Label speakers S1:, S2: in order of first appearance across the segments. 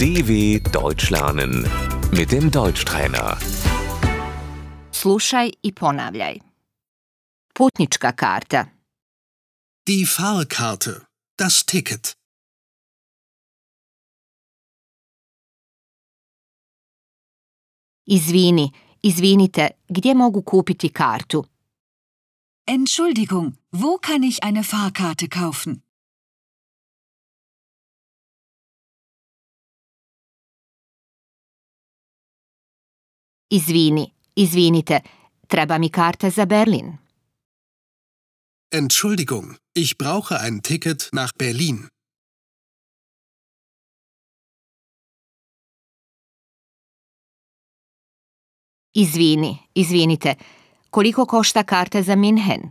S1: DW Deutsch lernen mit dem Deutschtrainer.
S2: Slušaj i ponavljaj. Putnička karta.
S3: Die Fahrkarte. Das Ticket.
S2: Izvini, izvinite, gdje mogu kupiti kartu?
S4: Entschuldigung, wo kann ich eine Fahrkarte kaufen?
S2: Izvini, izvinite, treba mi karta za Berlin.
S3: Entschuldigung, ich brauche ein Ticket nach Berlin.
S2: Izvini, izvinite, koliko košta karta za Minhen?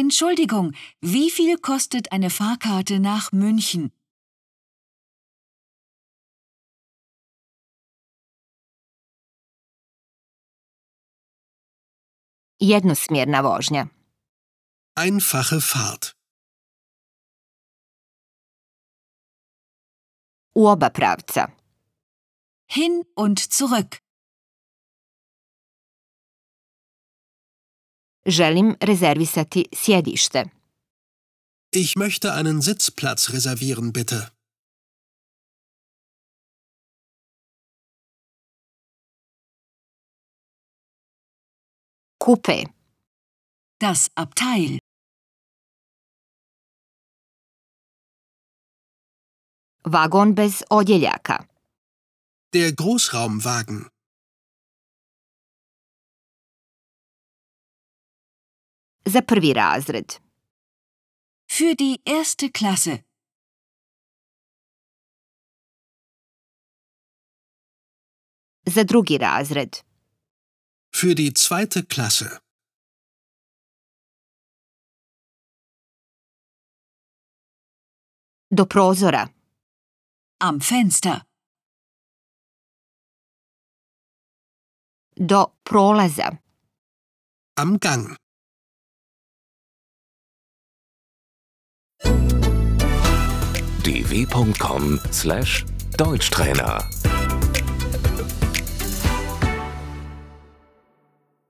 S4: Entschuldigung, wie viel kostet eine Fahrkarte nach München?
S2: Jednosmjerna vožnja.
S3: Einfache Fahrt.
S2: U oba pravca.
S4: Hin und zurück.
S2: Želim rezervisati sjedište.
S3: Ich möchte einen Sitzplatz reservieren, bitte.
S2: Kupe.
S4: Das Abteil.
S2: Vagon bez odjeljaka.
S3: Der Großraumwagen.
S2: Za prvi razred.
S4: Für die erste Klasse.
S2: Za drugi razred.
S3: Für die zweite Klasse.
S2: Do prozora.
S4: Am Fenster.
S2: Do prolaza.
S3: Am Gang.
S1: dw.com/deutschtrainer